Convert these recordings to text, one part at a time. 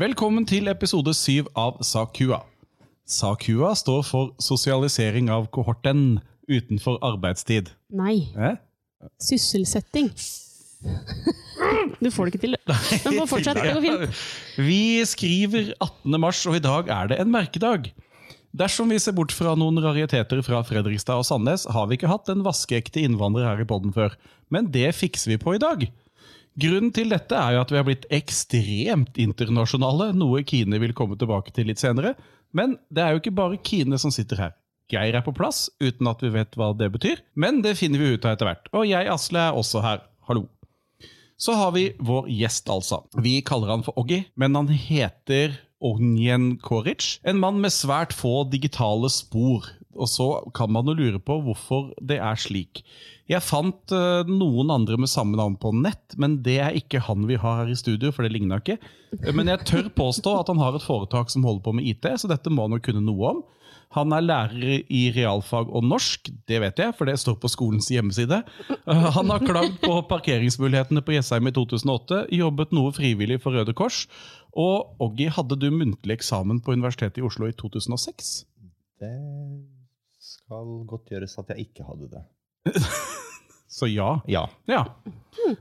Velkommen til episode 7 av SAKUA. SAKUA står for sosialisering av kohorten utenfor arbeidstid. Nei. Eh? Sysselsetting. Du får det ikke til. Men bare fortsett, det går fint. Vi skriver 18. mars, og i dag er det en merkedag. Dersom vi ser bort fra noen rariteter fra Fredrikstad og Sandnes, har vi ikke hatt en vaskeekte innvandrer her i podden før. Men det fikser vi på i dag. Grunnen til dette er jo at vi har blitt ekstremt internasjonale, noe Kine vil komme tilbake til litt senere. Men det er jo ikke bare Kine som sitter her. Geir er på plass, uten at vi vet hva det betyr. Men det finner vi ut av etter hvert. Og jeg, Asle, er også her. Hallo. Så har vi vår gjest, altså. Vi kaller han for Oggy, men han heter Onyen Koric. En mann med svært få digitale spor. Og så kan man jo lure på hvorfor det er slik. Jeg fant eh, noen andre med samme navn på nett, men det er ikke han vi har her i studio, for det ligna ikke. Eh, Men jeg tør påstå at han har et foretak som holder på med IT, så dette må han jo kunne noe om. Han er lærer i realfag og norsk, det vet jeg, for det står på skolens hjemmeside. Eh, Han har klagd på parkeringsmulighetene på Jessheim i 2008, jobbet noe frivillig for Røde Kors, og Oggy, hadde du muntlig eksamen på Universitetet i Oslo i 2006? Det skal godt gjøres at jeg ikke hadde det. Så ja. Ja. Ja.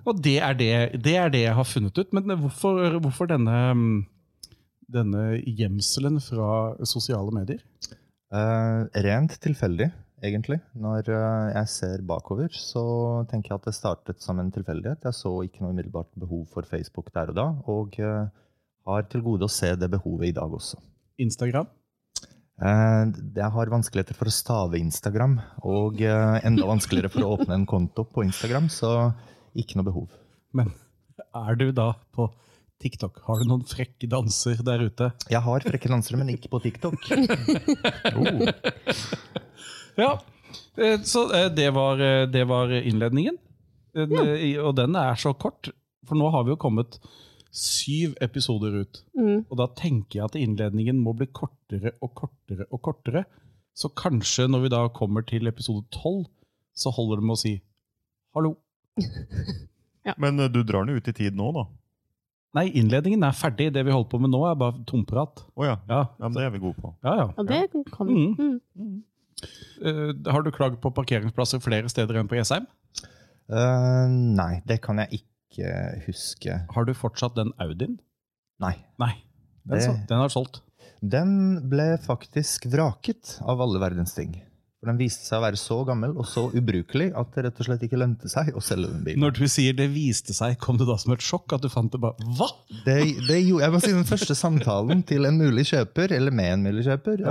Og det er det, det er det jeg har funnet ut. Men hvorfor, hvorfor denne, mm, denne gjemselen fra sosiale medier? Eh, rent tilfeldig, egentlig. Når eh, jeg ser bakover, så tenker jeg at det startet som en tilfeldighet. Jeg så ikke noe umiddelbart behov for Facebook der og da, og eh, har til gode å se det behovet i dag også. Instagram? Eh, jeg har vanskeligheter for å stave Instagram, og eh, enda vanskeligere for å åpne en konto på Instagram, så ikke noe behov. Men er du da på TikTok? Har du noen frekke danser der ute? Jeg har frekke dansere, men ikke på TikTok. Oh. ja. Eh, Så eh, det var, eh, det var innledningen. Den, eh, i- Og den er så kort, for nå har vi jo kommet syv episoder ut. Mm. Og da tenker jeg at innledningen må bli kortere og kortere og kortere. Så kanskje når vi da kommer til episode 12, så holder det med å si hallo. Men eh, du drar den jo ut i tid nå, da. Nei, innledningen er ferdig. Det vi holder på med nå, er bare tomprat. Å ja. Ja, ja. Men det er vi gode på. ja. ja. Ja, det kan vi. Mm. Mm. Eh, har du klagd på parkeringsplasser flere steder enn på Jessheim? Eh, nei, det kan jeg ikke huske. Har du fortsatt den Audien? Nei. Nei. Den, Det- sa- den har solgt. Den ble faktisk vraket av alle verdens ting. For Den viste seg å være så gammel og så ubrukelig at det rett og slett ikke lønte seg å selge den bilen. Når du sier det viste seg, kom det da som et sjokk at du fant det bare Hva?! Det, det gjorde, jeg må si Den første samtalen til en mulig kjøper, eller med en mulig kjøper,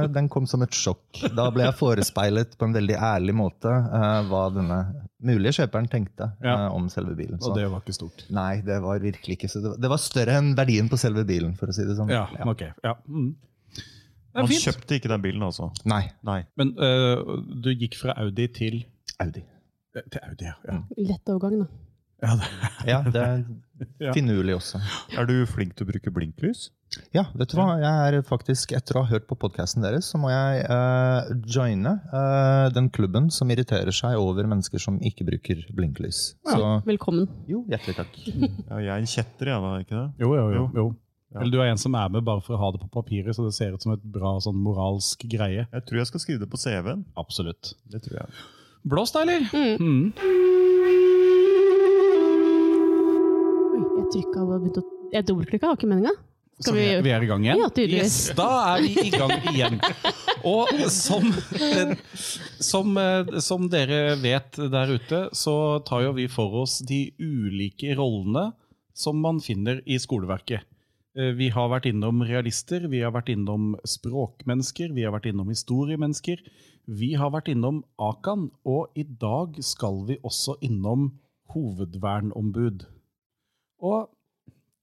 eh, den kom som et sjokk. Da ble jeg forespeilet på en veldig ærlig måte eh, hva denne mulige kjøperen tenkte Ja. eh, om selve bilen. Så, Og det var ikke stort. Nei, det var virkelig ikke så det var, det var større enn verdien på selve bilen, for å si det sånn. Ja, ok. Ja. Mm. Det Han er fint. kjøpte ikke den bilen, altså. Nei, Nei. Men eh, du gikk fra Audi til Audi. eh, Til Audi, ja. ja. Mm. Lett overgang, da. ja det. Ja, det er Ja. finurlig også. Er du flink til å bruke blinklys? Ja, vet du hva? Jeg er faktisk, etter å ha hørt på podcasten deres, så må jeg eh, joine eh, den klubben som irriterer seg over mennesker som ikke bruker blinklys. Så Velkommen. jo, hjertelig takk. Ja, jeg er en kjetter, jeg, da. ikke det? Jo, jo, jo. Jo. jo. Ja. Eller du er en som er med bare for å ha det på papiret, så det ser ut som et bra sånn moralsk greie. Jeg tror jeg skal skrive det på CV-en. Absolutt. Det tror jeg. Blås da, eller? Mm. Oi, jeg trykka og begynte å Jeg dobbeltklikka, var ikke meninga. Så Skal vi, vi vi er i gang igjen? Ja, tydeligvis. Yes, da er vi i gang igjen. Og som, eh, som, eh, som dere vet der ute, så tar jo vi for oss de ulike rollene som man finner i skoleverket. Eh, Vi har vært innom realister, vi har vært innom språkmennesker, vi har vært innom historiemennesker. Vi har vært innom Akan, og i dag skal vi også innom hovedvernombud. Og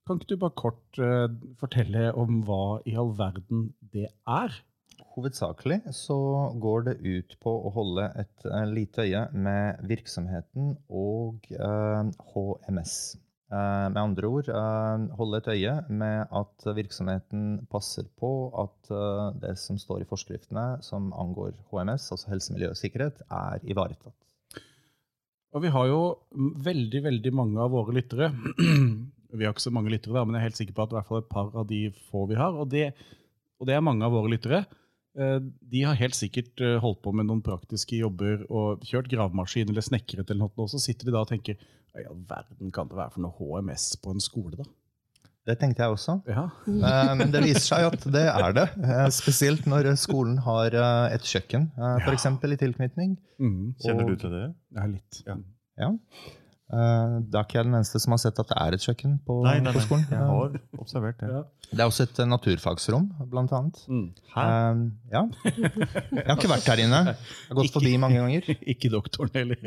kan ikke du bare kort eh, fortelle om hva i all verden det er? Hovedsakelig så går det ut på å holde et eh, lite øye med virksomheten og eh, HMS. Eh, med andre ord eh, holde et øye med at virksomheten passer på at eh, det som står i forskriftene som angår HMS, altså helse, miljø og sikkerhet, er ivaretatt. Og vi har jo m- veldig, veldig mange av våre lyttere Vi har ikke så mange lyttere, da, men jeg er helt sikker på at i hvert fall et par av de få vi har, og det, og det er mange av våre lyttere, eh, de har helt sikkert eh, holdt på med noen praktiske jobber og kjørt gravemaskin eller snekret eller noe, og så sitter de da og tenker hva i all verden kan det være for noe HMS på en skole, da? Det tenkte jeg også. Ja. Eh, Men det viser seg at det er det. Eh, Spesielt når skolen har eh, et kjøkken, Ja. f.eks. i tilknytning. Mhm. Kjenner Og- du til det? ja, litt. Mhm. Ja. Ja. Eh, Da er ikke jeg den eneste som har sett at det er et kjøkken på, Nei, nei, på nei. skolen. Jeg har observert det. Ja. Det er også et eh, naturfagsrom, blant annet. Mm. Hæ? Eh, ja. Jeg har ikke vært der inne. Jeg har gått forbi mange ganger. Ikke doktoren heller.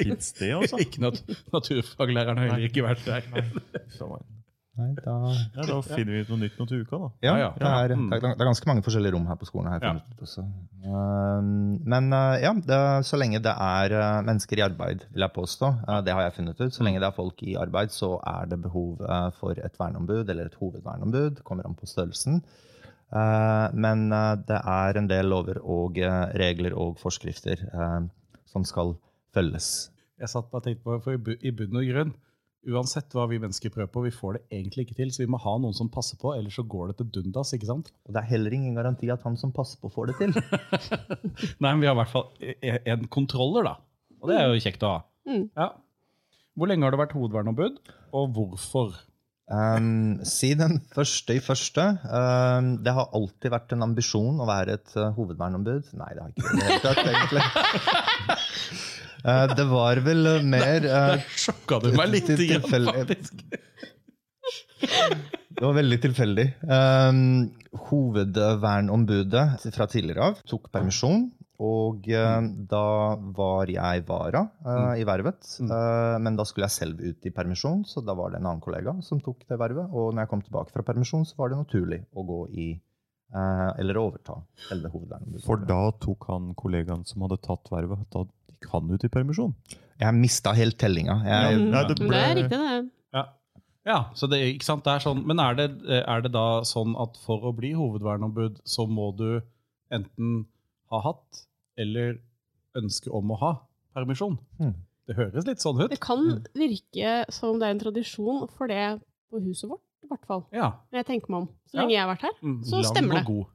Fins det, altså? Ikke nat naturfaglæreren har heller ikke vært der. Nei, da... Ja, da finner vi ut noe nytt nå til uka, da. Ja, Ja, ja. Det, er, Mm. det er- det er ganske mange forskjellige rom her på skolen. Her, Ja. funnet ut også. Eh, men eh, ja, det, så lenge det er eh, mennesker i arbeid, vil jeg påstå, eh, det har jeg funnet ut, så lenge det er folk i arbeid, så er det behov eh, for et verneombud eller et hovedverneombud. Kommer an på størrelsen. Eh, men eh, det er en del lover og eh, regler og forskrifter eh, som skal følges. Jeg satt bare og tenkte på, for i bu- i bunn og grunn, uansett hva vi mennesker prøver på, vi får det egentlig ikke til, så vi må ha noen som passer på, ellers så går det til dundas, ikke sant? Og det er heller ingen garanti at han som passer på, får det til. Nei, men vi har i hvert fall e- en kontroller, da. Og det er jo kjekt å ha. Mm. Ja. Hvor lenge har du vært hovedverneombud, og hvorfor? Um, siden første i første. Um, det har alltid vært en ambisjon å være et uh, hovedverneombud. Nei, det har ikke det helt tatt, egentlig. Uh, det var vel uh, mer uh, Sjokka du meg Eh, litt, Til- til- grann, tilfelle- faktisk. Det var veldig tilfeldig. Um, hovedverneombudet fra tidligere av tok permisjon. Og uh, da var jeg vara uh, i vervet. Mm. Uh, men da skulle jeg selv ut i permisjon, så da var det en annen kollega som tok det vervet. Og når jeg kom tilbake fra permisjon, så var det naturlig å gå i uh, eller å overta selve hovedverneombudet. For da tok han kollegaen som hadde tatt vervet, da gikk han ut i permisjon. Jeg mista helt tellinga. Jeg, Mm. Nei, det Men det er riktig, det. Ja. Ja, så det, ikke sant? Det er sånn, men er det, er det da sånn at for å bli hovedverneombud, så må du enten ha hatt eller ønske om å ha permisjon? Mm. Det høres litt sånn ut. Det kan virke som om det er en tradisjon for det på huset vårt, i hvert fall. Ja. Når jeg tenker meg om. Så Ja. lenge jeg har vært her. Mm. Så stemmer Lang det. og god,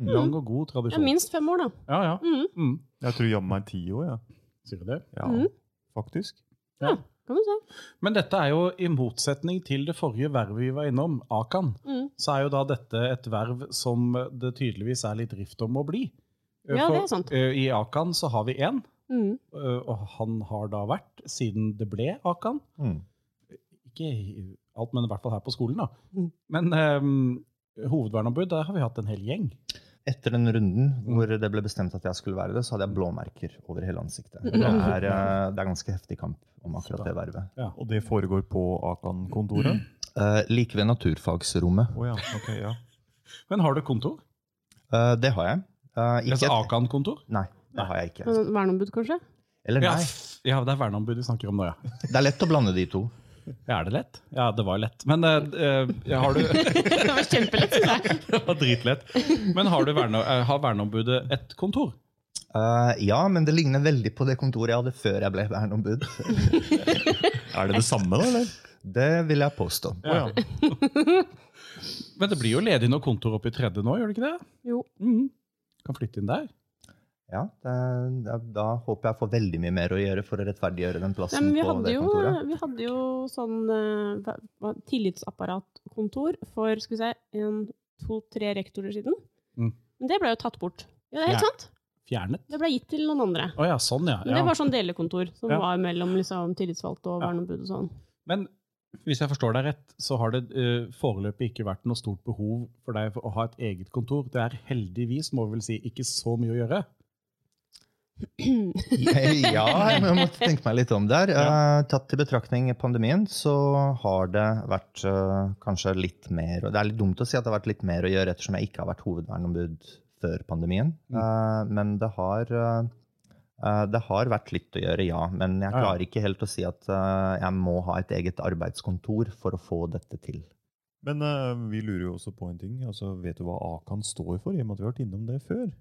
Mm. Lang og god Det er tradisjon. minst fem år, da. Ja, ja. Mm, Mm. Jeg tror jammen meg ti år, jeg. Sier du det? Ja. Mhm. Faktisk. kan du si. Men dette er jo i motsetning til det forrige vervet vi var innom, Akan. Mm. så er jo da dette et verv som det tydeligvis er litt rift om å bli. Ja, For, det er sant. ø, I Akan så har vi én, Mm. Eh, og han har da vært, siden det ble Akan Mm. Ikke i alt, men i hvert fall her på skolen, da. Mm. Men øhm, hovedverneombud, der har vi hatt en hel gjeng. Etter den runden hvor det ble bestemt at jeg skulle være det, så hadde jeg blåmerker over hele ansiktet. Mm. Det er, eh, det er ganske heftig kamp om akkurat det vervet. Og det foregår på Akan-kontoret? Eh, like ved naturfagsrommet. Å ja. Ok, ja. Men har du kontor? Eh, det har jeg. Eh, ikke Altså et- Akan-kontor? Nei, det har jeg ikke. Men Verneombud, kanskje? Eller Ja, nei. f- ja, det er verneombud vi snakker om nå, ja. Det er lett å blande de to. ja. Er det lett? Ja, det var lett. Men eh, ø, ø, har du det var kjempelett, syns jeg. Det var dritlett. Men har, du verne, ø, har verneombudet et kontor? Eh, ja, men det ligner veldig på det kontoret jeg hadde før jeg ble verneombud. Er det det samme, da? eller? Det vil jeg påstå. Å ja. Men det blir jo ledig noe kontor oppe i tredje nå, gjør det ikke det? Jo. Mhm. Kan flytte inn der. Ja, det, da, da håper jeg får veldig mye mer å gjøre for å rettferdiggjøre den Nei, plassen men vi på hadde det jo, kontoret. vi hadde jo sånn eh, hva- hva- tillitsapparatkontor for skal vi si, en, to, tre rektorer siden. Mm. Men det ble jo tatt bort. Ja, det er helt Ja. sant. Fjernet. Det ble gitt til noen andre. Å ja, sånn, ja. Men det ja. var sånn delekontor som Ja. var mellom liksom, tillitsvalgte og Ja. verneombud og sånn. Men hvis jeg forstår deg rett, så har det eh, foreløpig ikke vært noe stort behov for deg for å ha et eget kontor. Det er heldigvis, må vi vel si, ikke så mye å gjøre. ja, men jeg måtte tenke meg litt om der. Eh, tatt i betraktning pandemien, så har det vært eh, kanskje litt mer og Det er litt dumt å si at det har vært litt mer å gjøre ettersom jeg ikke har vært hovedverneombud før pandemien. Mm. Eh, men det har eh, eh, det har vært litt å gjøre, ja. Men jeg Ja, ja. klarer ikke helt å si at eh, jeg må ha et eget arbeidskontor for å få dette til. Men eh, vi lurer jo også på en ting. Altså, vet du hva Akan står for? I og med at vi har vært innom det før.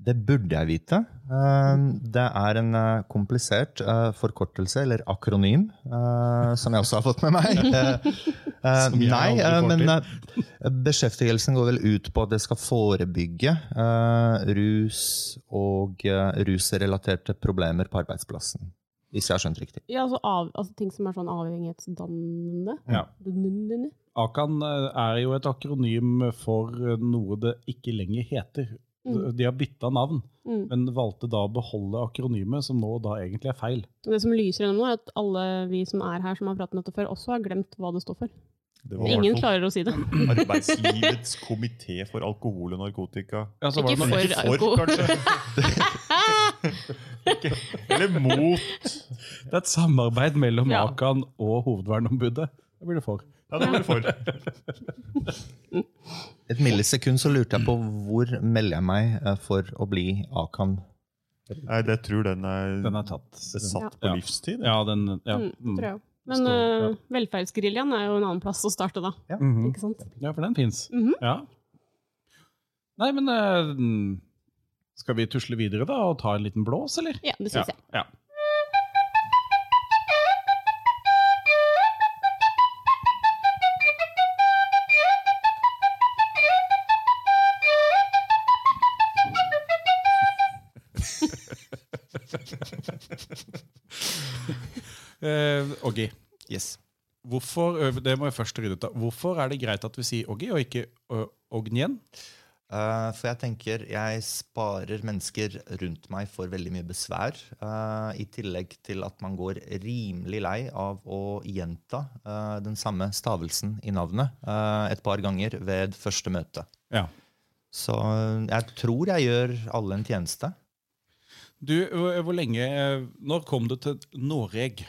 Det burde jeg vite. Eh, Det er en eh, komplisert eh, forkortelse, eller akronym, eh, som jeg også har fått med meg. Eh, eh, Som jeg Nei, aldri eh, får men eh, beskjeftigelsen går vel ut på at det skal forebygge eh, rus og eh, rusrelaterte problemer på arbeidsplassen. Hvis jeg har skjønt riktig. Ja, altså, av, altså ting som er sånn avhengighetsdannende. Ja. Dun-dun-dun. Akan eh, er jo et akronym for eh, noe det ikke lenger heter. Mm. De har bytta navn, Mm. men valgte da å beholde akronymet, som nå da egentlig er feil. Og Det som lyser gjennom nå, er at alle vi som er her som har pratet om dette før, også har glemt hva det står for. Det var i Ingen klarer å si det. Arbeidslivets komité for alkohol og narkotika. Ja, så var Ikke det noe- for- Ikke for, alko- kanskje. Ikke- Eller mot. Det er et samarbeid mellom Ja. Akan og hovedverneombudet. Det blir det for. Ja, det var det for. Et millisekund så lurte jeg på hvor melder jeg meg eh, for å bli Akan. Nei, det tror den er, Den er tatt. det er satt på Ja. livstid. Ja, den ja. Mm, tror jeg. også. Men Står- ja. uh, velferdsgeriljaen er jo en annen plass å starte, da. Mhm. Ikke sant? Ja, for den fins. Mhm. Ja. Nei, men eh, Skal vi tusle videre da og ta en liten blås, eller? Ja, det syns jeg. Ja. Eh, Oggi, Yes. hvorfor, ø, det må jeg først rydde ut av. Hvorfor er det greit at vi sier Oggi og ikke ø, Ognjen? Eh, for jeg tenker jeg sparer mennesker rundt meg for veldig mye besvær. eh, I tillegg til at man går rimelig lei av å gjenta eh, den samme stavelsen i navnet eh, et par ganger ved første møte. Ja. Så eh, jeg tror jeg gjør alle en tjeneste. Du, ø, hvor lenge ø, Når kom du til Noreg?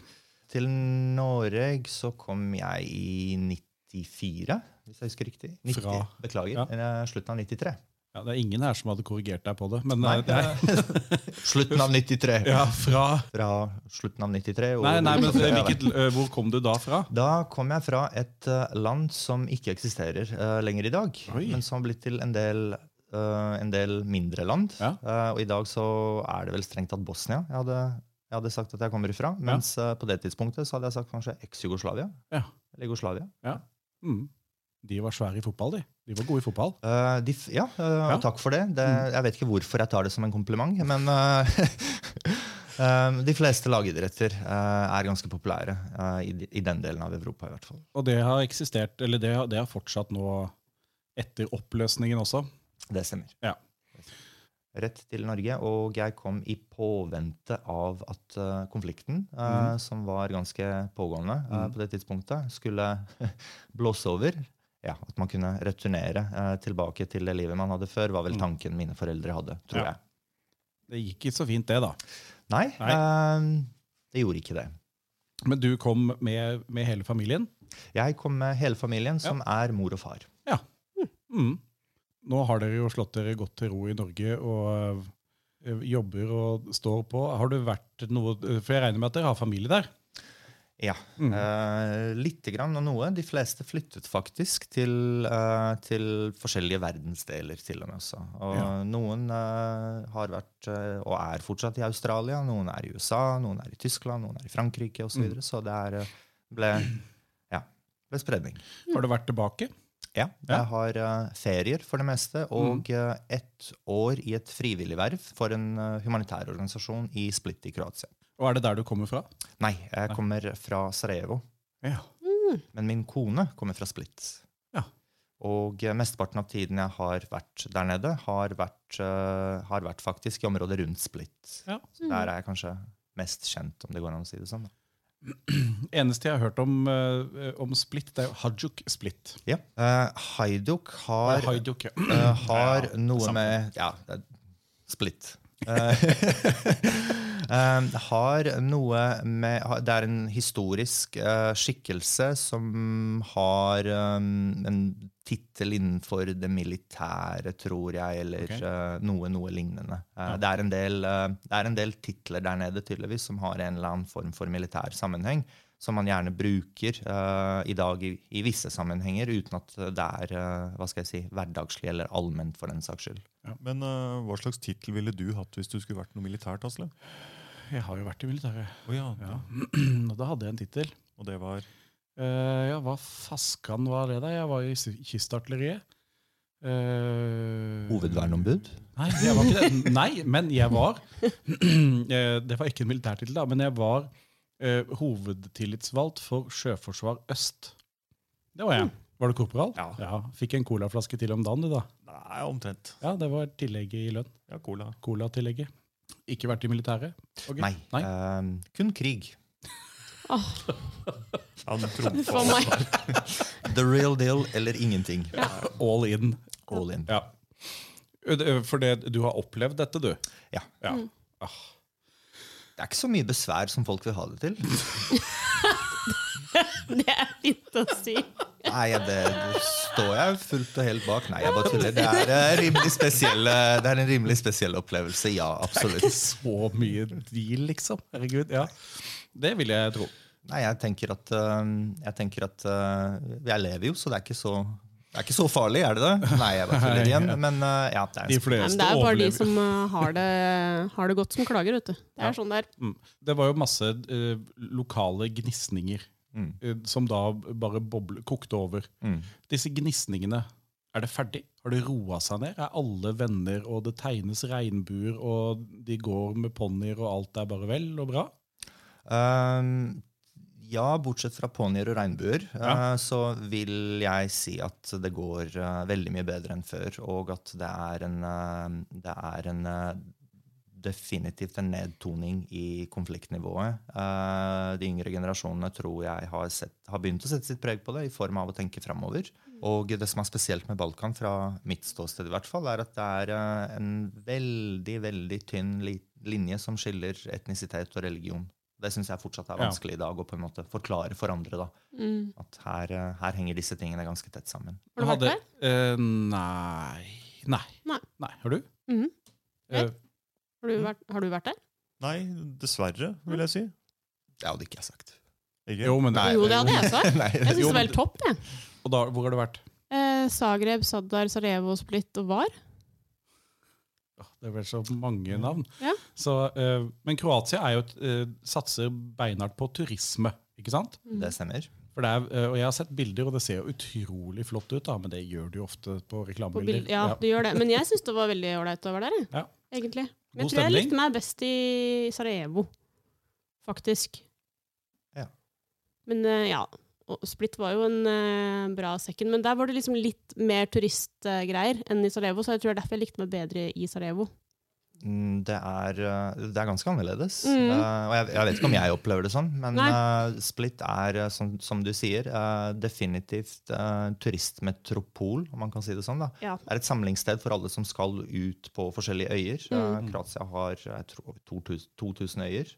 Til Norge så kom jeg i 94, hvis jeg husker riktig. 90, Fra- Beklager. ja. eh, Slutten av 93. Ja, det er ingen her som hadde korrigert deg på det. Men Nei, nei, det er, Slutten av 93. ja, fra Fra slutten av 93. og- Nei, nei men ø, Ja, vel. hvilket, ø, hvor kom du da fra? Da kom jeg fra et eh, land som ikke eksisterer eh, lenger i dag, Oi. men som har blitt til en del, eh, en del mindre land. Ja. Eh, og i dag så er det vel strengt tatt Bosnia jeg hadde, jeg hadde sagt at jeg kommer ifra. Mens eh, på det tidspunktet så hadde jeg sagt kanskje eks-Jugoslavia. Ja. Eller Jugoslavia. Mm. De var svære i fotball, de. De var gode i fotball. Eh, de, f- ja, eh, og Ja. Mm. takk for det. det. Jeg vet ikke hvorfor jeg tar det som en kompliment, men eh, eh, de fleste lagidretter eh, er ganske populære eh, i, de- i den delen av Europa. i hvert fall. Og det har eksistert, eller det har, det har fortsatt nå etter oppløsningen også. Det stemmer. Ja. Rett til Norge, og jeg kom i påvente av at eh, konflikten, Mm. eh, som var ganske pågående eh, Mhm. på det tidspunktet, skulle blåse over. Ja, At man kunne returnere eh, tilbake til det livet man hadde før, var vel Mm. tanken mine foreldre hadde. Ja. tror jeg. Det gikk ikke så fint, det, da. Nei, Nei. eh, det gjorde ikke det. Men du kom med, med hele familien. Jeg kom med hele familien, som er mor og far. Mm. Nå har dere jo slått dere godt til ro i Norge og ø, jobber og står på. Har du vært noe For jeg regner med at dere har familie der? Ja. Mm. Eh, Lite grann og noe. De fleste flyttet faktisk til, eh, til forskjellige verdensdeler til og med også. Og Ja. noen eh, har vært eh, og er fortsatt i Australia, noen er i USA, noen er i Tyskland, noen er i Frankrike Mm. osv. Så, videre. så det er, eh, ble, ja, ble spredning. Har du vært tilbake? Ja. Ja. Mm. Jeg har eh, ferier for det meste og eh, ett år i et frivillig verv for en eh, humanitær organisasjon i Split i Kroatia. Og er det der du kommer fra? Nei, jeg kommer fra Sarajevo. Ja. Men min kone kommer fra Split. Ja. Og eh, mesteparten av tiden jeg har vært der nede, har vært, eh, har vært faktisk i området rundt Split. Ja. Så der er jeg kanskje mest kjent, om det går an å si det sånn. da. Eneste jeg har hørt om, eh, om Split, det er jo Hajuk Split. Ja. Eh, Hajduk Nei, har, Hajduk, ja. eh, har Ja, noe samme. med Ja, det er Split. Eh, eh, har noe med har- Det er en historisk eh, skikkelse som har eh, en tittel innenfor det militære, tror jeg, eller Ok. eh, noe, noe lignende. Eh, det, er en del, eh, det er en del titler der nede tydeligvis som har en eller annen form for militær sammenheng, som man gjerne bruker eh, i dag i, i visse sammenhenger, uten at det er eh, hva skal jeg si, hverdagslig eller allment, for den saks skyld. Men eh, hva slags tittel ville du hatt hvis du skulle vært noe militært, Asle? Jeg har jo vært i militæret. Å ja, Ja. Og da hadde jeg en tittel. Og det var Eh, ja, hva faskan var det, da? Jeg var i s- kystartilleriet. Eh, Hovedvernombud? Nei, jeg var ikke det. Nei, men jeg var eh, Det var ikke en militærtittel, da, men jeg var eh, hovedtillitsvalgt for Sjøforsvar Øst. Det var jeg. Mm. Var du korporal? Ja. Fikk en colaflaske til om dagen, du, da. Nei, omtrent. Ja, Det var tillegget i lønn. Ja, cola. Colatillegget. Ikke vært i militæret? Ok. Nei. Nei. eh, kun krig. Han For meg. The real deal eller ingenting. All in. All in. Ja. Ø, det- ø, For det, du har opplevd dette, du? Ja. Mm. ja. Det er ikke så mye besvær som folk vil ha det til. Det er fint å si. Nei, det, det står jeg fullt og helt bak. Nei, jeg bare tuller. Det er, eh, rimelig spesiell, eh, det er en rimelig spesiell opplevelse, ja, absolutt. Så mye deal, liksom. Herregud. Ja. Det vil jeg tro. Nei, jeg tenker at, eh, jeg, tenker at eh, jeg lever jo, så det er ikke så det er ikke så farlig, er det det? Nei, jeg bare tuller igjen. Men eh, ja, det er De en Nei, men fleste det er bare de overlever. som eh, har det, har det godt, som klager, vet du. Det Ja. er sånn der. Mm. Det var jo masse eh, lokale gnisninger Mm. eh, som da bare boble, kokte over. Mm. Disse gnisningene, er det ferdig? Har det roa seg ned? Er alle venner, og det tegnes regnbuer, og de går med ponnier, og alt er bare vel og bra? Ehm, ja, bortsett fra ponnier og regnbuer, eh, Ja. så vil jeg si at det går eh, veldig mye bedre enn før, og at det er en, eh, det er en eh, definitivt en nedtoning i konfliktnivået. Eh, de yngre generasjonene tror jeg har, sett, har begynt å sette sitt preg på det, i form av å tenke framover. Og det som er spesielt med Balkan, fra mitt ståsted i hvert fall, er at det er eh, en veldig, veldig tynn li linje som skiller etnisitet og religion. Det syns jeg fortsatt er Ja. vanskelig i dag å på en måte forklare for andre. da. Mm. At her, eh, her henger disse tingene ganske tett sammen. Har du vært der? Eh, nei. nei. Nei. Har du? Mhm. Eh, Har du vært, har du vært der? Nei, dessverre, vil jeg si. Det hadde ikke jeg sagt. Ikke? jo, men Jo, det hadde jeg sagt. Nei, Jeg syns Jo, det var men- helt topp, jeg. Og da, hvor har du vært? Eh, Zagreb, Saddar, Sarajevo, Split og Var. Åh, Det er vel så mange navn. Ja. Så, eh, men Kroatia er jo et, eh, satser beinhardt på turisme, ikke sant? det stemmer. For det er, eh, og jeg har sett bilder, og det ser jo utrolig flott ut, da, men det gjør det jo ofte på På reklamebilder. bild, ja, Ja. det gjør det. Men jeg syns det var veldig ålreit å være der, jeg. Ja. egentlig. Men God jeg tror jeg stemning. likte meg best i Sarajevo, faktisk. Ja. Men eh, ja. Og Split var jo en eh, bra second, men der var det liksom litt mer turistgreier enn i Sarajevo, så jeg tror det er derfor jeg likte meg bedre i Sarajevo. Mm, Det er, eh, det er ganske annerledes. Mm. Eh, og jeg, jeg vet ikke om jeg opplever det sånn, men Nei. eh, Split er, eh, som, som du sier, eh, definitivt eh, turistmetropol, om man kan si det sånn. da. Ja. Det er et samlingssted for alle som skal ut på forskjellige øyer. Mm. Eh, Kroatia har jeg tror, over 2000, 2000 øyer.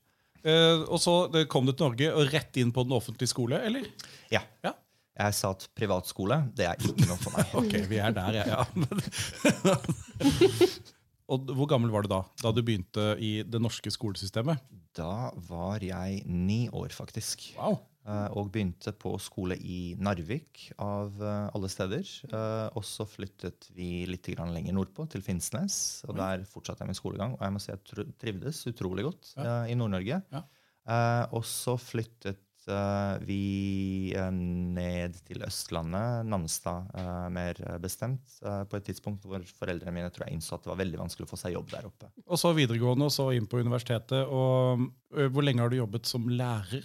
Eh, og så det kom du til Norge og rett inn på den offentlige skole, eller? Ja. Ja. Jeg sa at privatskole, det er ikke noe for meg. Ok, vi er der, ja. ja. og hvor gammel var du da, da du begynte i det norske skolesystemet? Da var jeg ni år, faktisk. Wow. Eh, Og begynte på skole i Narvik, av eh, alle steder. Eh, Og så flyttet vi litt grann lenger nordpå, til Finnsnes. Mm. Og der fortsatte jeg min skolegang. Og jeg må si jeg tr- trivdes utrolig godt eh, i Nord-Norge. Ja. Eh, Og så flyttet eh, vi eh, ned til Østlandet, Namstad eh, mer bestemt, eh, på et tidspunkt hvor foreldrene mine tror jeg innså at det var veldig vanskelig å få seg jobb der oppe. Og så videregående, og så inn på universitetet. Og ø, hvor lenge har du jobbet som lærer?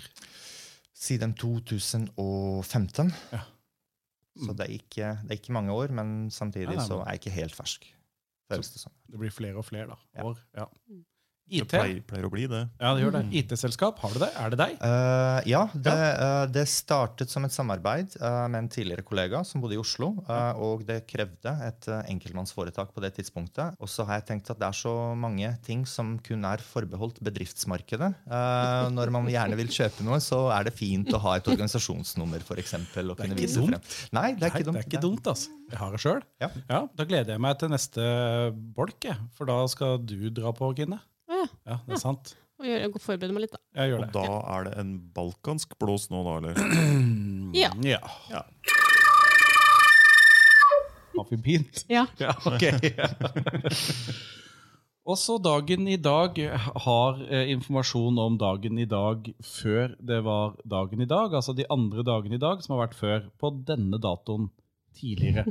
Siden 2015. Ja. Mm. Så det er, ikke, det er ikke mange år, men samtidig Nei, nei, så men- er jeg ikke helt fersk. Føles det som. Det blir flere og flere, da. Ja. År. Ja. Mm. IT. Det pleier, pleier å bli det. Ja, det gjør det. IT-selskap, har du det? Er det deg? Eh, ja, det, eh, det startet som et samarbeid eh, med en tidligere kollega som bodde i Oslo. eh, og det krevde et eh, enkeltmannsforetak på det tidspunktet. Og så har jeg tenkt at det er så mange ting som kun er forbeholdt bedriftsmarkedet. Eh, når man gjerne vil kjøpe noe, så er det fint å ha et organisasjonsnummer, f.eks. Det er ikke Nei, det er ikke dumt. Nei, det er ikke dumt, altså. Jeg har det sjøl. Ja. da gleder jeg meg til neste bolk, jeg. for da skal du dra på, Kine. Å ja. Ja, det er sant. og gjøre, forberede meg litt. da. Jeg gjør Og det. da er det en balkansk blås nå, da, eller? Ja. Mm, ja. Ja. Har vi begynt? Ja. Ja, ok. Også dagen i dag har eh, informasjon om dagen i dag før det var dagen i dag, altså de andre dagene i dag som har vært før på denne datoen tidligere.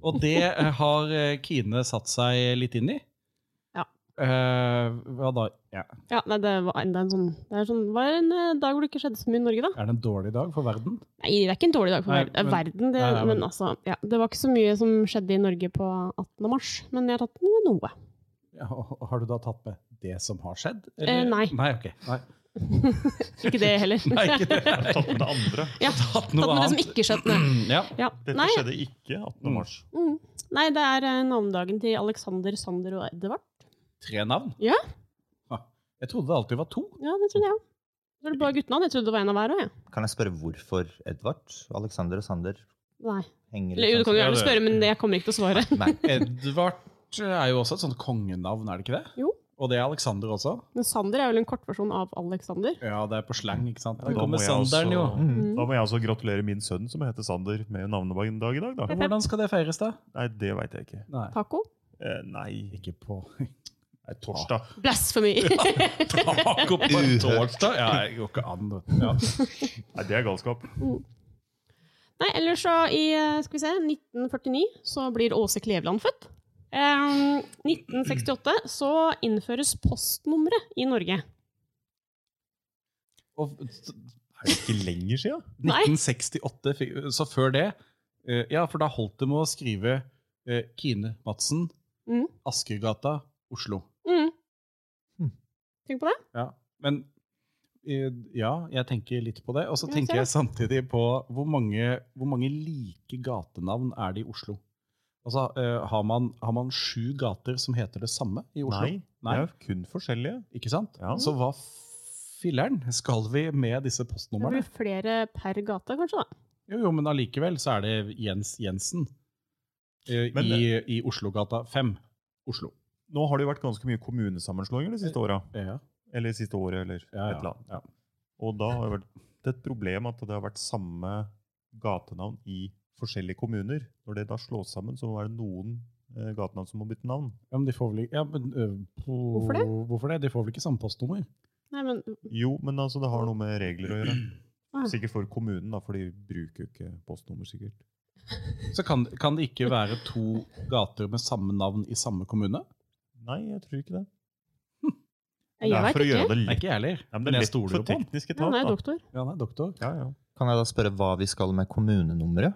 Og det eh, har eh, Kine satt seg litt inn i. Ja. Eh, hva da? Ja. ja nei, det var enda en sånn Det er sånn, var en eh, dag hvor det ikke skjedde så mye i Norge, da. Er det en dårlig dag for verden? Nei, det er ikke en dårlig dag for Nei, ver- eh, men- verden, det, Nei, nei, men- men altså ja, Det var ikke så mye som skjedde i Norge på 18. mars, men jeg har tatt med noe. Ja, og- og har du da tatt med det som har skjedd? Eh, nei. Nei, ok. Nei, Ikke det heller. nei ikke det. Jeg har tatt med det andre. ja, tatt Tatt med noe det som annet. Mm, ikke skjedde. Ja. Ja. Dette Nei, skjedde ikke 18. mars. mm. nei, det er eh, navnedagen til Alexander, Sander og Edvard. Tre navn? Ja. Ah, Jeg trodde det alltid var to. Ja, det trodde jeg òg. Det var bare guttene. Jeg trodde det var en av hver òg, jeg. Kan jeg spørre hvorfor Edvard, Alexander og Sander Nei. henger sånn Eller, jo, du kan jo gjerne spørre, men det jeg kommer ikke til å svare. Nei, Edvard eh, er jo også et sånt kongenavn, er det ikke det? Jo. Og det er Alexander også. Men Sander er vel en kortversjon av Alexander. Ja, det er på slang, ikke sant? Ja, Da da kommer må jeg Sanderen, jo. også- mm. Da må jeg også gratulere min sønn, som heter Sander, med navnedag i dag. da. Hvordan skal det feires, da? Nei, det veit jeg ikke. Nei, Taco. Eh, nei, ikke på nei, torsdag. Blasfemi! Taco på en torsdag? Ja, det går ikke an. vet du. Ja. Nei, det er galskap. Nei, ellers så i eh, skal vi se, 1949 så blir Åse Kleveland født. Eh, 1968 så innføres postnummeret i Norge. Og Er det ikke lenger sia? Nei. 1968, fikk- så før det eh, Ja, for da holdt det med å skrive eh, Kine Madsen, Mm. Askergata, Oslo. Mm. Mm. Tenk på det. Ja, men eh, ja, jeg tenker litt på det. Og så Ja, tenker ser jeg samtidig på hvor mange, hvor mange like gatenavn er det i Oslo? Altså, eh, har, man, har man sju gater som heter det samme i Oslo? Nei, det er kun forskjellige. Ikke sant? Ja. Så hva filleren skal vi med disse Det postnumrene? blir flere per gate, kanskje. da. Jo, jo, men allikevel så er det Jens Jensen eh, Men i, i Oslogata 5. Oslo. Nå har det jo vært ganske mye kommunesammenslåinger de siste åra. Ja, Eller siste året, eller et ja, eller ja. annet. ja. Og da har det vært det er et problem at det har vært samme gatenavn i forskjellige kommuner. Når det da slås sammen, så er det noen eh, gatenavn som må bytte navn. Ja, men de får vel ikke ja, men, ø, på- Hvorfor det? Hvorfor det? De får vel ikke samme postnummer? Nei, men Jo, men altså, det har noe med regler å gjøre. Ah. Sikkert for kommunen, da, for de bruker jo ikke postnummer, sikkert. Så kan, kan det ikke være to gater med samme navn i samme kommune? Nei, jeg tror ikke det. jeg, det er vet for å ikke. gjøre det Det er litt ikke jeg heller. ja, men Men det er jeg lett stoler jo for på den. teknisk Ja, han etat, er da. doktor. Ja, nei, doktor. Ja, ja. Kan jeg da spørre hva vi skal med kommunenummeret?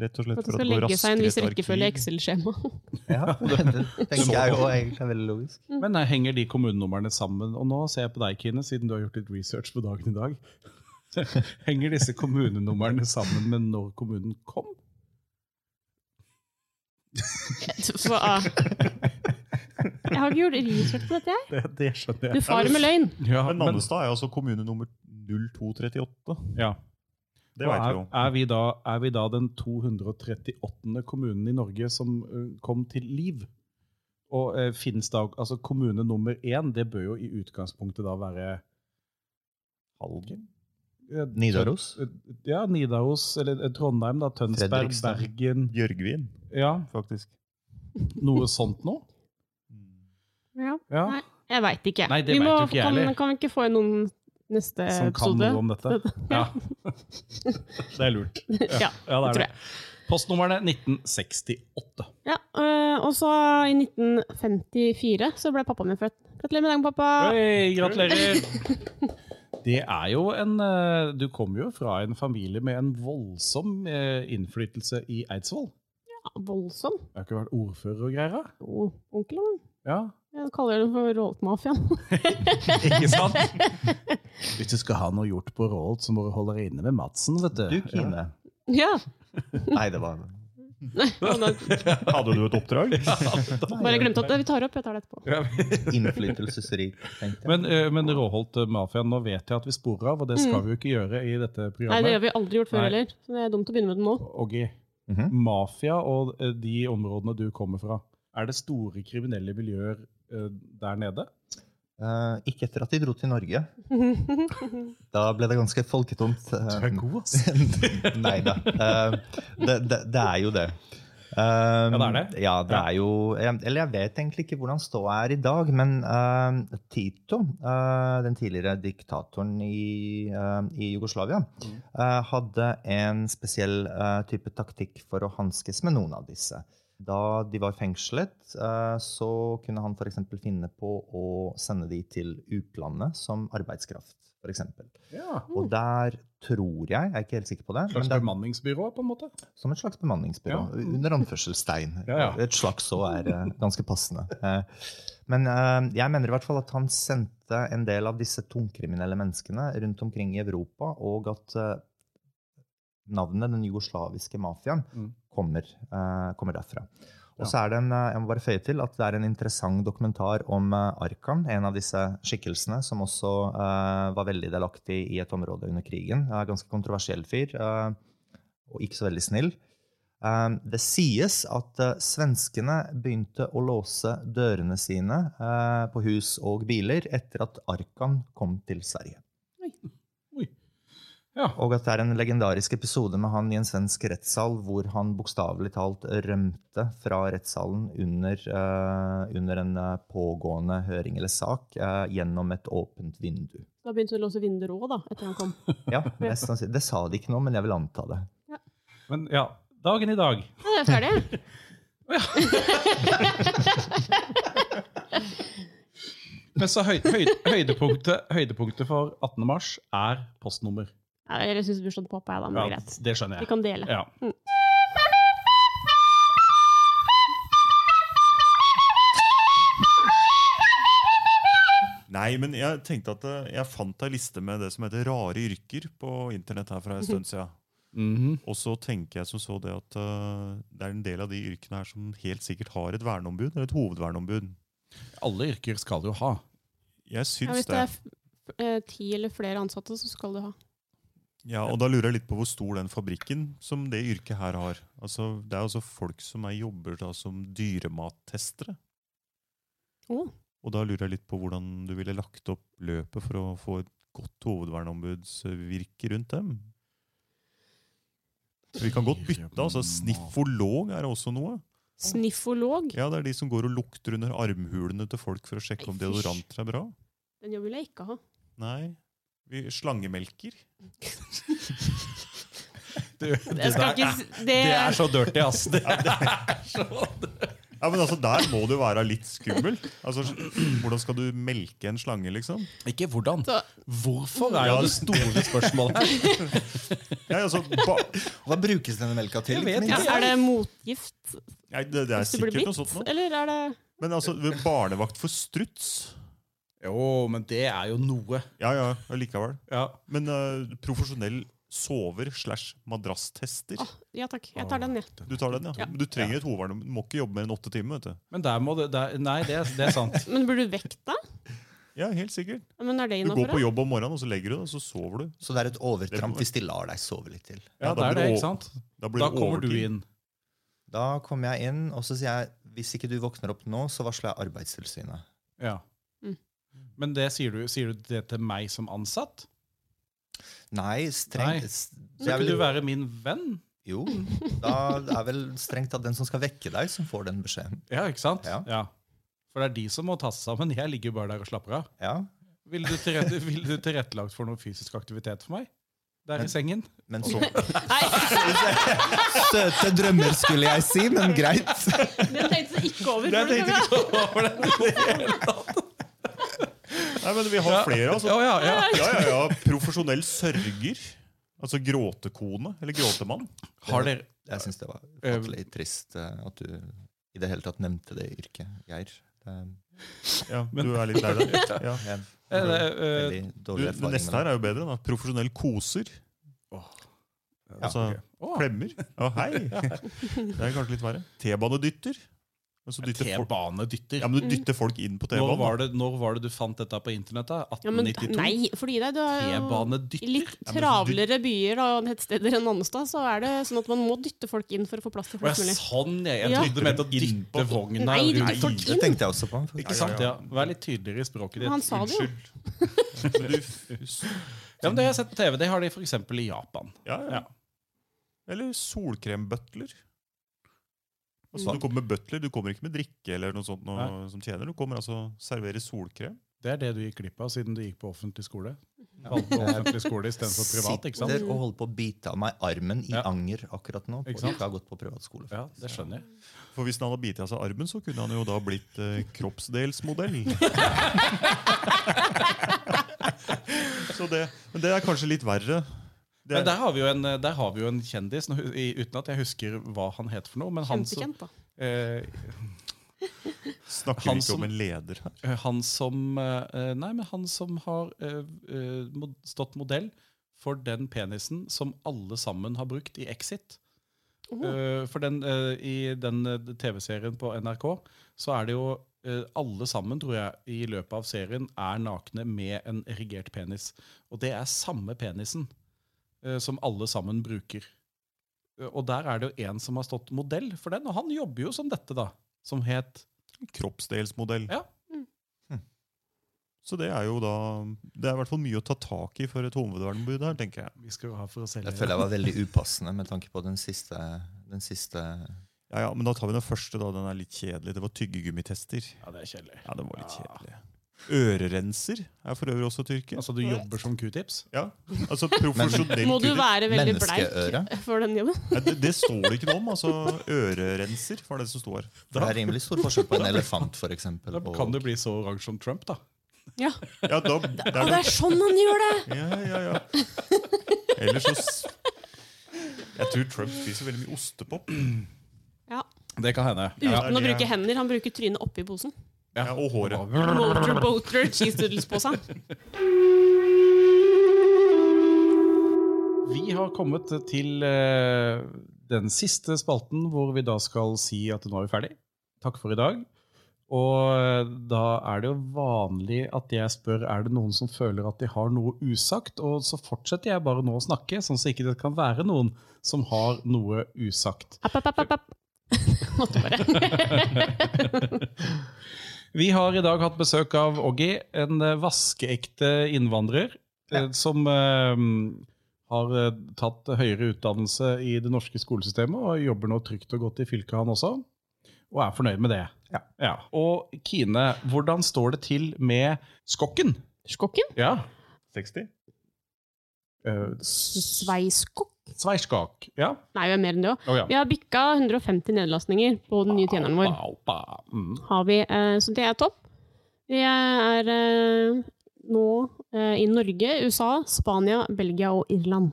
Rett og slett For at det for at skal det går legge seg i en raskere viss i et rekkefølge i arkiv. Excel-skjema. Ja, det tenker jeg jo egentlig er veldig logisk. Men nei, henger de kommunenumrene sammen? Og nå ser jeg på deg, Kine, siden du har gjort litt research på dagen i dag. Henger disse kommunenumrene sammen med når kommunen kom? For, ah. Jeg har ikke gjort research på dette, jeg. Det, det skjønner Du jeg. farer med løgn. Ja, Men men, Nannestad er altså kommune nummer 0238. ja. Det Og veit vi er, jo. er, vi da, er vi da den 238. kommunen i Norge som ø, kom til liv? Og uh, finnes da altså Kommune nummer én, det bør jo i utgangspunktet da være Halgen? eh, Nidaros? Ja, Nidaros, eller eh, Trondheim, da, Tønsberg, Fredrikstad. Bergen Bjørgvin, Ja, faktisk. noe sånt noe? Mm. Ja. Ja. Nei. Jeg veit ikke. Nei, det vi vet må, jo ikke jeg kan, heller. kan vi ikke få inn noen neste Som kan episode? noe om dette? Ja. Det er lurt. Ja, Ja, det tror er det. Postnummerne 1968. ja, øh, og så i 1954 så ble pappaen min født. Gratulerer med dagen, pappa! Hei, gratulerer! Det er jo en eh, Du kommer jo fra en familie med en voldsom eh, innflytelse i Eidsvoll. Ja, Ah, voldsom. Jeg har ikke vært ordfører og greier. da. Jo, onkel han. Ja, Jeg kaller det for råtmafiaen. Ikke sant? Hvis du skal ha noe gjort på Rålt, så må du holde deg inne med Madsen, vet Du, Kine. ja. Nei, det var og da- Hadde du et oppdrag? Bare glemte at det. Vi tar opp, jeg tar det etterpå. innflytelsesrikt, tenkte jeg. Men, eh, men Råholt eh, Mafia, nå vet jeg at vi sporer av, og det skal vi jo ikke gjøre i dette Mm. Nei, det har programmet. vi aldri gjort før Nei. heller. Så det er dumt å begynne med det nå. Oggy, Mhm. mafia og eh, de områdene du kommer fra, er det store kriminelle miljøer eh, der nede? Eh, ikke etter at de dro til Norge. Da ble det ganske folketomt. eh, Du er god, ass. Nei da. Eh, det, det, det er jo det. Um, Ja, det er det. Ja, det Ja. er jo jeg, Eller jeg vet egentlig ikke hvordan ståa er i dag, men eh, Tito, eh, den tidligere diktatoren i, eh, i Jugoslavia, eh, hadde en spesiell eh, type taktikk for å hanskes med noen av disse. Da de var fengslet, eh, så kunne han f.eks. finne på å sende de til utlandet som arbeidskraft. For eksempel. Ja. og der tror jeg, jeg er ikke helt sikker på det, Mm. men Slags der bemanningsbyrå, på en måte. som et slags bemanningsbyrå. Ja. Under anførselstegn. Ja, ja. Et slags så er eh, ganske passende. Eh, Men eh, jeg mener i hvert fall at han sendte en del av disse tungkriminelle menneskene rundt omkring i Europa, og at eh, navnet den jugoslaviske mafiaen Mm. kommer, eh, kommer derfra. Ja. Og så er det en, eh, jeg må bare føye til at det er en interessant dokumentar om eh, Arkan, en av disse skikkelsene som også eh, var veldig delaktig i et område under krigen. Eh, ganske kontroversiell fyr, eh, og ikke så veldig snill. Eh, det sies at eh, svenskene begynte å låse dørene sine eh, på hus og biler etter at Arkan kom til Sverige. Ja. Og at det er en legendarisk episode med han i en svensk rettssal hvor han bokstavelig talt rømte fra rettssalen under, eh, under en eh, pågående høring eller sak eh, gjennom et åpent vindu. Da begynte du å låse vinduer òg, da, etter han kom. Ja, mest sannsynlig. Det sa de ikke nå, men jeg vil anta det. Men ja, dagen i dag. Nei, jeg er ferdig. Men så høy, høy, høydepunktet, høydepunktet for 18. mars er postnummer. Ja, Eller syns bursdagen til pappa, jeg, da. Men det er Ja, greit. det skjønner Vi jeg. kan dele. Ja. Mm. Nei, men jeg tenkte at eh, jeg fant ei liste med det som heter rare yrker på internett her fra en stund siden. Mhm. Og så tenker jeg som så det at eh, det er en del av de yrkene her som helt sikkert har et verneombud, eller et hovedverneombud. Alle yrker skal jo ha. Jeg Ja, syns hvis det det. er f- eh, ti eller flere ansatte, så skal du ha. Ja, og da lurer jeg litt på hvor stor den fabrikken som det yrket her har. Altså, det er altså folk som er jobber da som dyremattestere. Å. Og da lurer jeg litt på hvordan du ville lagt opp løpet for å få et godt hovedverneombudsvirke rundt dem. Så vi kan godt bytte. altså Sniffolog er også noe. Sniffolog. Ja, Det er de som går og lukter under armhulene til folk for å sjekke om Nei, fysj. deodoranter er bra. Den jobben vil jeg ikke ha. Nei. Vi slangemelker. Jeg skal ikke s- det, Det er så dirty, ass! Det er så Ja, men altså, Der må du være litt skummel. Altså, Hvordan skal du melke en slange, liksom? Ikke hvordan. Så- Hvorfor er jo det store spørsmålet. Nei, altså, ba Hva brukes denne melka til? Jeg vet ja, ikke minst? Er det motgift Nei, det, det er hvis du blir sikkert noe sånt bitt? nå. Eller er det Men altså, barnevakt for struts? Jo, men det er jo noe. Ja, ja, allikevel. Ja. Men eh, profesjonell sover slash madrasstester. Åh, Ja takk, jeg tar den, jeg. Du tar den, ja. Ja. Men Du trenger et hovedvern. Du må ikke jobbe mer enn åtte timer. vet du. Men der må det der, Nei, det, er- det er sant. Men blir du vekt da? Ja, helt sikkert. Men er det Du går innafor? på jobb om morgenen, og så legger du deg, og så sover du. Så det er et overtramp hvis de lar deg sove litt til. Ja, Ja, det er da det, blir det ikke over- sant? Da blir Da det kommer du overtid. inn. Da kommer jeg inn, og så sier jeg hvis ikke du våkner opp nå, så varsler jeg Arbeidstilsynet. Ja. Mm. Men det sier du, sier du det til meg som ansatt? Nei, Nei. strengt s- så jeg Skal vil- ikke du være min venn? Jo, da er vel strengt tatt den som skal vekke deg, som får den beskjeden. Ja, ikke sant? Ja. For det er de som må ta seg sammen. Jeg ligger jo bare der og slapper av. Ja, Ville du, tilrette, ville du tilrettelagt for noe fysisk aktivitet for meg? Der i Men- sengen? men så Nei, Søte drømmer, skulle jeg si, men greit. den tenkte jeg ikke over. Jeg tenkte ikke så over det. Nei, men Vi har flere. altså. Å, ja, ja. Ja, ja, ja. Profesjonell sørger. Altså gråtekone. Eller gråtemann. Har dere Jeg syns det var ufattelig trist eh, at du i det hele tatt nevnte det yrket, Geir. Det Ja, du er litt lei deg. Ja. er en eh, eh, veldig Du, dårlig det erfaring. neste her er jo bedre. da. Profesjonell koser. Ja. Altså Å, klemmer. Å, hei! Det er kanskje litt verre. T-banedytter. Men så dytter folk, T-banedytter. ja, men du dytter folk inn på Når T-banen. da. var, det, når var det du fant dette på internett? da? Ja, men, 1892? nei, fordi det, det er jo i T-banedytter? litt Ja, men du- travlere byer og tettsteder enn Nannestad, så er det sånn at man må dytte folk inn for å få plass til Å, ja, flest mulig. sånn, jeg, jeg Ja. trodde du mente å dytte vogna Nei, du rundt. får ikke- Det tenkte jeg også på. Ikke sant? Ja. Vær litt tydeligere i språket ditt. Han sa det jo. Men du f- Ja, men Det har jeg sett på TV. Det har de f.eks. i Japan. Ja, ja. Ja. Eller solkrembutler. Altså, Mm. du kommer med butler, du kommer ikke med drikke eller noe sånt noe Nei. som tjener. Du kommer altså servere solkrem. Det er det du gikk glipp av siden du gikk på offentlig skole. Ja. Valgte offentlig skole istedenfor privat, ikke sant? Sitter og holder på å bite av meg armen i Ja. anger akkurat nå. Ikke På sant? ikke har gått på privatskole. Ja, det skjønner jeg. For hvis han hadde bitt av seg armen, så kunne han jo da blitt eh, kroppsdelsmodell. så det, men det er kanskje litt verre. Det, Men der har vi jo en, der har vi jo en kjendis, nå hu- i- uten at jeg husker hva han het for noe. Men han som, Kjempekjent, da. eh, snakker han vi ikke som- om en leder her. han som eh, Nei, men han som har eh, eh, mod- stått modell for den penisen som alle sammen har brukt i Exit. Åh. Eh, for den, eh, I den eh, TV-serien på NRK så er det jo eh, alle sammen, tror jeg, i løpet av serien er nakne med en erigert penis. Og det er samme penisen eh, som alle sammen bruker. Eh, og der er det jo en som har stått modell for den, og han jobber jo som dette, da. Som het Kroppsdelsmodell. Ja. Mm. Hm. Så det er jo da Det er i hvert fall mye å ta tak i for et hovedverneombud her, tenker jeg. Vi skal jo ha for å selge Jeg føler jeg var veldig upassende med tanke på den siste, den siste Ja, ja, Men da tar vi den første, da. Den er litt kjedelig. Det var tyggegummitester. Ja, det er kjedelig. Ja, den var litt Ja. kjedelig. Ørerenser er for øvrig også tyrker. Altså, du jobber som q-tips? Ja, altså profesjonell Må du kunder. være veldig bleik menneskeøre. for den jobben? Nei, det, det står det ikke noe om. altså Ørerenser var det som sto her. Det er rimelig stor forskjell på en elefant, for eksempel. Da og- kan du bli så oransje som Trump, da. Ja. Ja, da, Å, det er det det. er sånn han gjør det! Ja, ja, ja. Ellers så s- Jeg tror Trump spiser veldig mye ostepop. Ja. Det kan hende. Uten Ja, å det er- bruke hender. Han bruker trynet oppi posen. Ja, og håret. Motor, boater, cheese doodles på seg. Vi har kommet til eh, den siste spalten, hvor vi da skal si at nå er vi ferdig. Takk for i dag. Og eh, da er det jo vanlig at jeg spør er det noen som føler at de har noe usagt, og så fortsetter jeg bare nå å snakke, sånn så ikke det kan være noen som har noe usagt. App, app, app, app, app. Måtte bare. Vi har i dag hatt besøk av Oggy, en eh, vaskeekte innvandrer eh, som eh, har eh, tatt høyere utdannelse i det norske skolesystemet og jobber nå trygt og godt i fylket, han også. Og er fornøyd med det. Ja. Og Kine, hvordan står det til med skokken? Skokken? Ja. 60? eh, Sveiskokk? Sveiskak. Ja. Nei, vi er mer enn det òg. Å, ja. Vi har bikka 150 nedlastninger på den nye tjeneren vår. Au, au, au. Mm. har vi, eh, så det er topp. Vi er eh, nå eh, i Norge, USA, Spania, Belgia og Irland.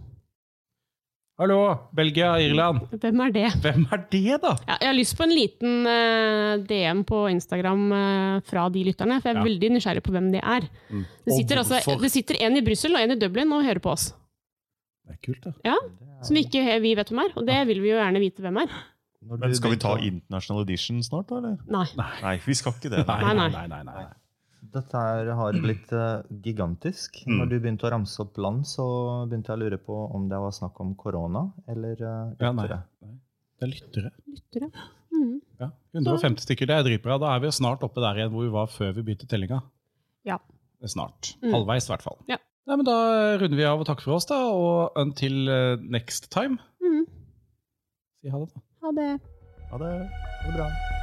Hallo, Belgia, Irland. Hvem er det? Hvem er det, da? Ja, jeg har lyst på en liten eh, DM på Instagram eh, fra de lytterne, for jeg er Ja. veldig nysgjerrig på hvem de er. Mm. Det sitter, altså, det sitter en i Brussel og en i Dublin og hører på oss, Det er kult, da. som vi ikke he- vi vet hvem er. Og det vil vi jo gjerne vite hvem er. Når Men du skal vi begynte ta å- International Edition snart, da? eller? Nei. Nei, vi skal ikke det. Nei, nei. nei, nei, nei. Dette her har blitt eh, gigantisk. Mm. Når du begynte å ramse opp land, så begynte jeg å lure på om det var snakk om korona eller uh, Ja, nei. Det er lyttere. Lyttere. Mhm. Ja, 150 stykker, det er dritbra. Da er vi jo snart oppe der igjen hvor vi var før vi begynte tellinga. Ja. Snart. Mm. Halvveis, i hvert fall. Ja. Nei, men da runder vi av og takker for oss, da. Og until eh, next time. Mhm. Si ha det, da. Ha det. Ha det. Det er bra.